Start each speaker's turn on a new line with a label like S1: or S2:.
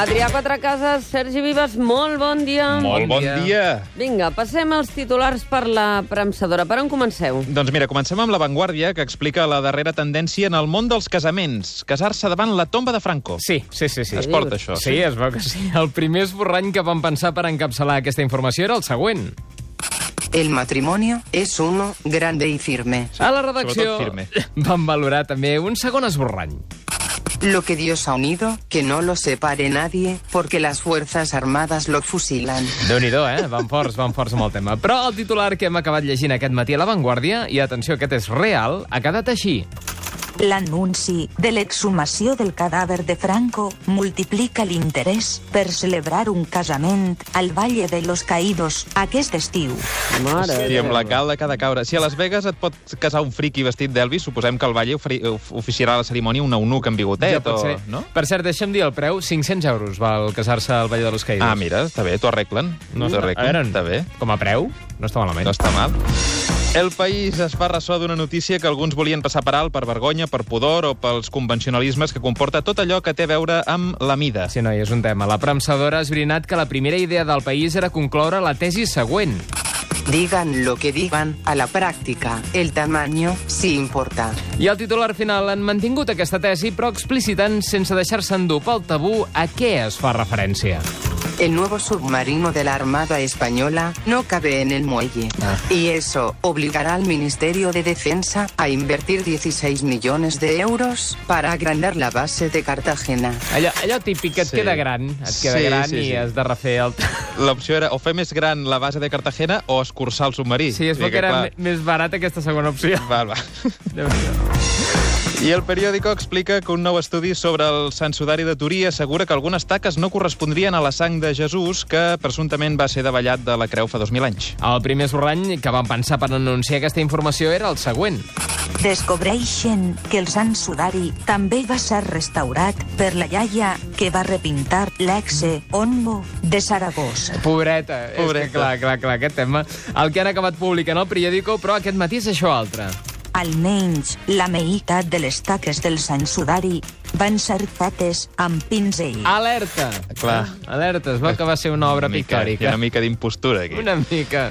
S1: Adrià Quatrecases, Sergi Vives, molt bon dia.
S2: Molt bon
S3: dia.
S2: dia.
S1: Vinga, passem als titulars per la premsadora. Per on comenceu?
S2: Doncs mira, comencem amb La Vanguardia, que explica la darrera tendència en el món dels casaments. Casar-se davant la tomba de Franco.
S3: Sí, sí, sí. sí.
S2: Es porta això.
S3: Sí, es veu que sí. El primer esborrany que van pensar per encapçalar aquesta informació era el següent.
S4: El matrimonio es uno grande y firme.
S3: A la redacció
S2: sobretot firme.
S3: van valorar també un segon esborrany.
S4: Lo que Dios ha unido, que no lo separe nadie, porque las Fuerzas Armadas lo fusilan.
S3: déu nhi eh? Van forts, van forts amb el tema. Però el titular que hem acabat llegint aquest matí a La Vanguardia, i atenció, aquest és real, ha quedat així.
S5: L'anunci de l'exhumació del cadàver de Franco multiplica l'interès per celebrar un casament al Valle de los Caídos aquest estiu.
S1: Mare.
S2: Sí, amb la calda que ha de caure. Si a Las Vegas et pot casar un friqui vestit d'Elvis, suposem que el Valle ofri- of- oficiarà la cerimònia un eunuc amb bigotet, o... No?
S3: Per cert, deixa'm dir el preu, 500 euros val casar-se al Valle de los Caídos.
S2: Ah, mira, està bé, t'ho arreglen.
S3: No,
S2: t'ho
S3: a veure,
S2: arreglen, està bé.
S3: com a preu, no està malament.
S2: No està mal. El País es fa ressò d'una notícia que alguns volien passar per alt per vergonya, per pudor o pels convencionalismes que comporta tot allò que té a veure amb la mida.
S3: Sí, noi, és un tema. La premsadora ha esbrinat que la primera idea del país era concloure la tesi següent.
S4: Digan lo que digan, a la práctica, el tamaño sí importa.
S3: I el titular final han mantingut aquesta tesi, però explicitant sense deixar-se endur pel tabú a què es fa referència.
S4: El nuevo submarino de la Armada Española no cabe en el muelle. Y eso obligará al Ministerio de Defensa a invertir 16 millones de euros para agrandar la base de Cartagena.
S3: Allò, allò típic que et
S2: Sí.
S3: sí. queda gran, et queda
S2: Sí,
S3: gran
S2: sí,
S3: i
S2: sí.
S3: has de refer el...
S2: L'opció era o fer més gran la base de Cartagena o escurçar el submarí.
S3: Sí, es
S2: Vull
S3: veu
S2: dir
S3: que era
S2: clar,
S3: me- més barat aquesta segona opció.
S2: Val, va. I el periòdico explica que un nou estudi sobre el sensudari de Turí assegura que algunes taques no correspondrien a la sang de Jesús, que presumptament va ser davallat de la creu fa 2.000 anys.
S3: El primer esborrany que van pensar per anunciar aquesta informació era el següent.
S5: Descobreixen que el Sant Sudari també va ser restaurat per la iaia que va repintar l'exe Onmo de Saragossa.
S3: Pobreta. És
S2: Pobreta.
S3: que, clar, clar, clar, aquest tema. El que han acabat publicant al periòdico, però aquest matí és això altre.
S5: Almenys la meitat de les taques del Sant Sudari van ser fetes amb pinzell.
S3: Alerta!
S2: Clar.
S3: Alerta, es veu que va ser una Ah. obra
S2: mica, hi ha
S3: pictòrica.
S2: una mica d'impostura, aquí.
S3: Una mica.